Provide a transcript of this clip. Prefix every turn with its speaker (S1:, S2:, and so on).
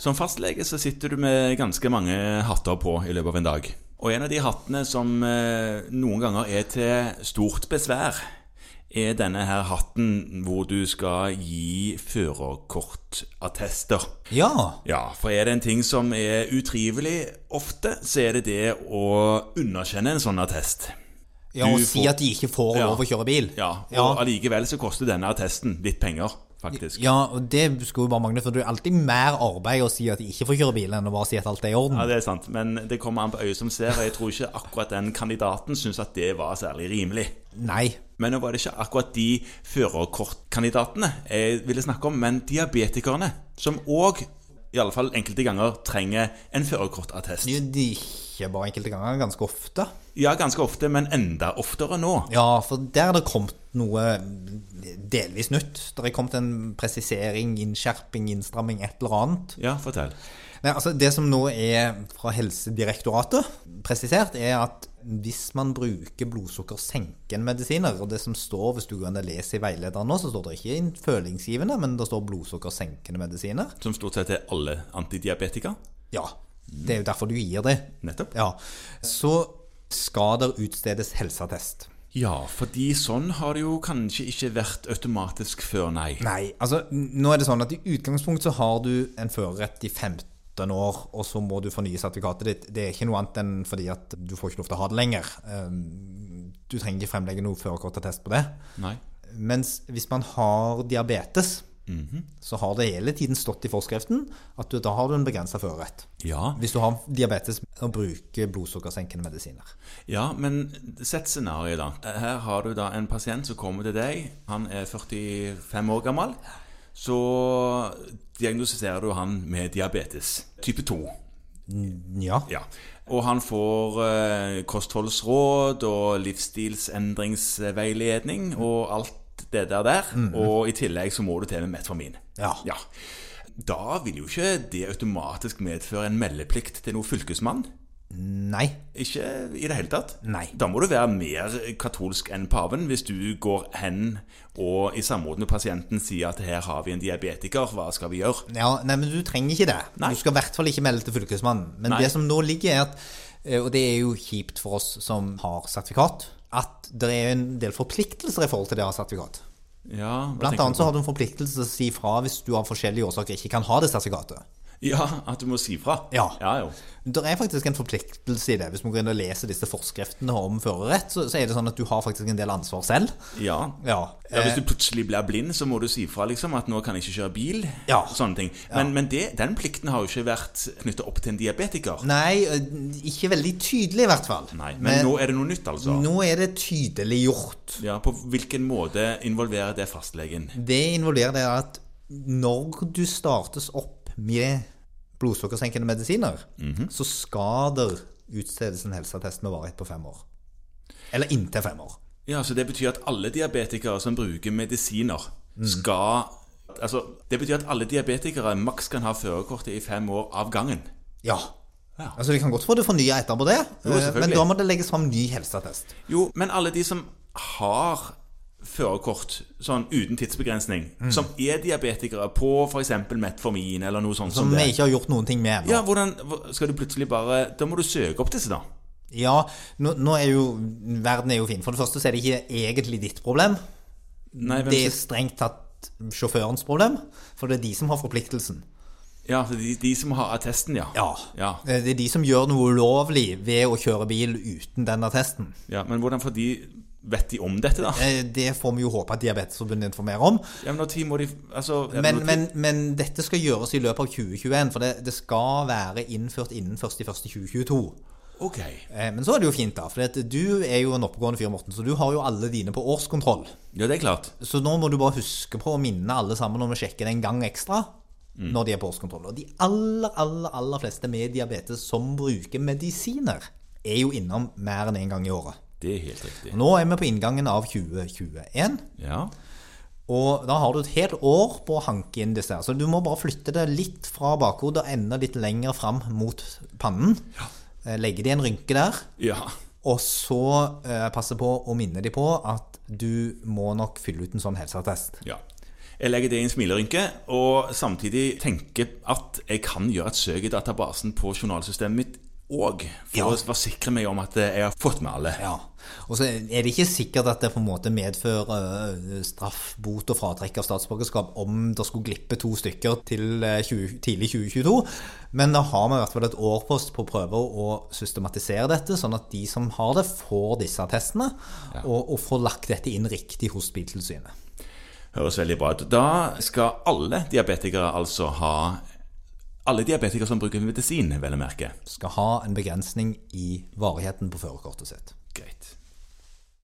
S1: Som fastlege så sitter du med ganske mange hatter på i løpet av en dag. Og en av de hattene som eh, noen ganger er til stort besvær, er denne her hatten hvor du skal gi førerkortattester.
S2: Ja.
S1: Ja, for er det en ting som er utrivelig ofte, så er det det å underkjenne en sånn attest.
S2: ja
S1: Du
S2: og si
S1: får-
S2: at de ikke får
S1: Ja.
S2: lov å kjøre bil.
S1: Ja, og
S2: Ja.
S1: allikevel så koster denne attesten litt penger, faktisk.
S2: Ja, og det skulle jo bare mangle, for det er alltid mer arbeid å si at de ikke får kjøre bil, enn å bare si at alt er i orden.
S1: Ja, det er sant, men det kommer an på øyet som ser, og jeg tror ikke akkurat den kandidaten syntes at det var særlig rimelig.
S2: Nei.
S1: Men nå var det ikke akkurat de førerkortkandidatene jeg ville snakke om, men diabetikerne, som òg, iallfall enkelte ganger, trenger en førerkortattest.
S2: Det er jo de ikke bare enkelte ganger, ganske ofte.
S1: Ja, ganske ofte, men enda oftere nå.
S2: Ja, for der er det kommet noe delvis nytt. Det er kommet en presisering, innskjerping, innstramming, et eller annet.
S1: Ja, fortell.
S2: Nei, altså Det som nå er fra Helsedirektoratet presisert, er at hvis man bruker blodsukkersenkende medisiner og det som står, Hvis du går inn og leser i veilederen nå, så står det ikke inn følingsgivende, men det står blodsukkersenkende medisiner.
S1: Som stort sett er alle antidiabetika.
S2: Ja, Det er jo derfor du gir det.
S1: Nettopp.
S2: Ja, Så skal det utstedes helseattest.
S1: Ja, fordi sånn har det jo kanskje ikke vært automatisk før, nei.
S2: Nei, altså nå er det sånn at i utgangspunkt så har du en førerrett i 15 år, og så må du fornye sertifikatet ditt. Det er ikke noe annet enn fordi at du får ikke lov til å ha det lenger. Um, Du trenger ikke fremlegge noe førerkortattest på det.
S1: Nei.
S2: Mens hvis man har diabetes, så har det hele tiden stått i forskriften at du, da har du en begrensa førerrett.
S1: Ja.
S2: Hvis du har diabetes og bruker blodsukkersenkende medisiner.
S1: Ja, men sett scenarioet, da. Eh, Her har du da en pasient som kommer til deg. Han er 45 år gammel. Så diagnostiserer du han med diabetes type 2.
S2: Ja.
S1: Ja. Og han får eh, kostholdsråd og livsstilsendringsveiledning og alt det der der. Og i tillegg så må du til med metformin.
S2: Ja.
S1: ja. Da vil jo ikke det automatisk medføre en meldeplikt til noen fylkesmann.
S2: Nei.
S1: Ikke i det hele tatt.
S2: Nei.
S1: Da må du være mer katolsk enn paven hvis du går hen og i samråd med pasienten sier at her har vi en diabetiker, hva skal vi gjøre?
S2: Ja, nei, men du trenger ikke det.
S1: Nei.
S2: Du skal i hvert fall ikke melde til fylkesmannen. Men
S1: Nei.
S2: det som nå ligger er at, eh, og det er jo kjipt for oss som har sertifikat, at det er en del forpliktelser i forhold til det å ha sertifikat.
S1: Ja, hva
S2: Blant
S1: tenker
S2: annet
S1: du
S2: så har du en forpliktelse til å si fra hvis du av forskjellige årsaker ikke kan ha det sertifikatet.
S1: på? Ja, at du må si fra.
S2: Ja.
S1: ja jo.
S2: Det er faktisk en forpliktelse i det. Hvis man går inn og leser disse forskriftene om førerrett, så, så er det sånn at du har faktisk en del ansvar selv. Eh,
S1: Ja.
S2: Ja.
S1: Ja, hvis du plutselig blir blind, så må du si fra liksom, at 'nå kan jeg ikke kjøre bil'.
S2: Ja.
S1: Sånne ting. Men, men det, den plikten har jo ikke vært knytta opp til en diabetiker.
S2: Nei, eh, ikke veldig tydelig i hvert fall.
S1: Nei, men, nå er det noe nytt, altså.
S2: nå er det tydeliggjort.
S1: Ja, På hvilken måte involverer det fastlegen?
S2: Det involverer det at når du startes opp med blodsukkersenkende medisiner,
S1: Mhm.
S2: så skal det utstedes en helseattest med varighet på fem år. Eller inntil fem år.
S1: Ja, så Det betyr at alle diabetikere som bruker medisiner, skal Altså, Det betyr at alle diabetikere maks kan ha førerkortet i fem år av gangen.
S2: Ja.
S1: Ja.
S2: Altså, De kan godt få det fornya etterpå det,
S1: Jo,
S2: eh,
S1: selvfølgelig.
S2: men da må det legges fram ny helseattest.
S1: Jo, men alle de som har førerkort sånn uten tidsbegrensning, som er diabetikere på f.eks. metformin eller noe sånt som,
S2: Som vi
S1: det.
S2: ikke har gjort noen ting med ennå.
S1: Ja, hvordan hvor- Skal du plutselig bare Da må du søke opp disse, da.
S2: Ja, nå, nå er jo verden er jo fin. For det første så er det ikke egentlig ditt problem.
S1: Nei, hvem
S2: Det er
S1: som-
S2: strengt tatt sjåførens problem, for det er de som har forpliktelsen.
S1: Ja, så de, de som har attesten, ja.
S2: Ja.
S1: ja.
S2: Eh, Det er de som gjør noe ulovlig ved å kjøre bil uten den attesten.
S1: ja men hvordan får de Vet de om dette, da?
S2: Eh, Det får vi jo håpe at Diabetesforbundet informerer om.
S1: Ja, men når tid må de altså, er det
S2: Men,
S1: når tid-
S2: men, men dette skal gjøres i løpet av 2021, for det, det skal være innført innen 1.1.2022.
S1: Ok.
S2: Eh, Men så er det jo fint, da. For at du er jo en oppegående fyr, Morten, så du har jo alle dine på årskontroll.
S1: Ja, det er klart.
S2: Så nå må du bare huske på å minne alle sammen om å sjekke det en gang ekstra når de er på årskontroll. Og de aller, aller, aller fleste med diabetes som bruker medisiner, er jo innom mer enn én en gang i året.
S1: Det er helt riktig.
S2: Nå er vi på inngangen av 2021,
S1: Ja.
S2: og da har du et helt år på å hanke inn disse. her. Så du må bare flytte det litt fra bakhodet og enda litt lenger fram mot pannen. Eh, Legge det i en rynke der.
S1: ja.
S2: Og så eh, passe på å minne de på at du må nok fylle ut en sånn helseattest.
S1: Ja. Jeg legger det i en smilerynke, og samtidig tenker at jeg kan gjøre et søk i databasen på journalsystemet mitt òg, for
S2: Ja.
S1: å være sikre meg om at jeg har fått med alle.
S2: Ja. Og så er det ikke sikkert at det på en måte medfører eh, straff, bot og fratrekk av statsborgerskap om det skulle glippe to stykker til eh, 20, tidlig 2022, men da har vi i hvert fall et år på oss på å prøve å systematisere dette, sånn at de som har det, får disse attestene, og, og får lagt dette inn riktig hos Biltilsynet.
S1: Høres veldig bra ut. Da skal alle diabetikere altså ha Alle diabetikere som bruker medisin, vel å merke.
S2: Skal ha en begrensning i varigheten på førerkortet sitt.
S1: Greit.